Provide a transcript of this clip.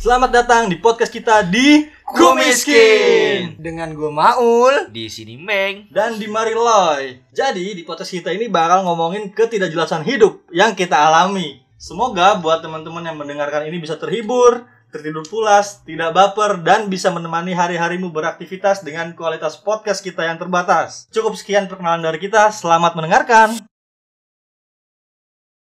Selamat datang di podcast kita di Kumiskin Dengan gue Maul Di sini Meng. dan di Mariloy. Jadi di podcast kita ini bakal ngomongin ketidakjelasan hidup yang kita alami. Semoga buat teman-teman yang mendengarkan ini bisa terhibur, tertidur pulas, tidak baper, dan bisa menemani hari-harimu beraktivitas dengan kualitas podcast kita yang terbatas. Cukup sekian perkenalan dari kita. Selamat mendengarkan.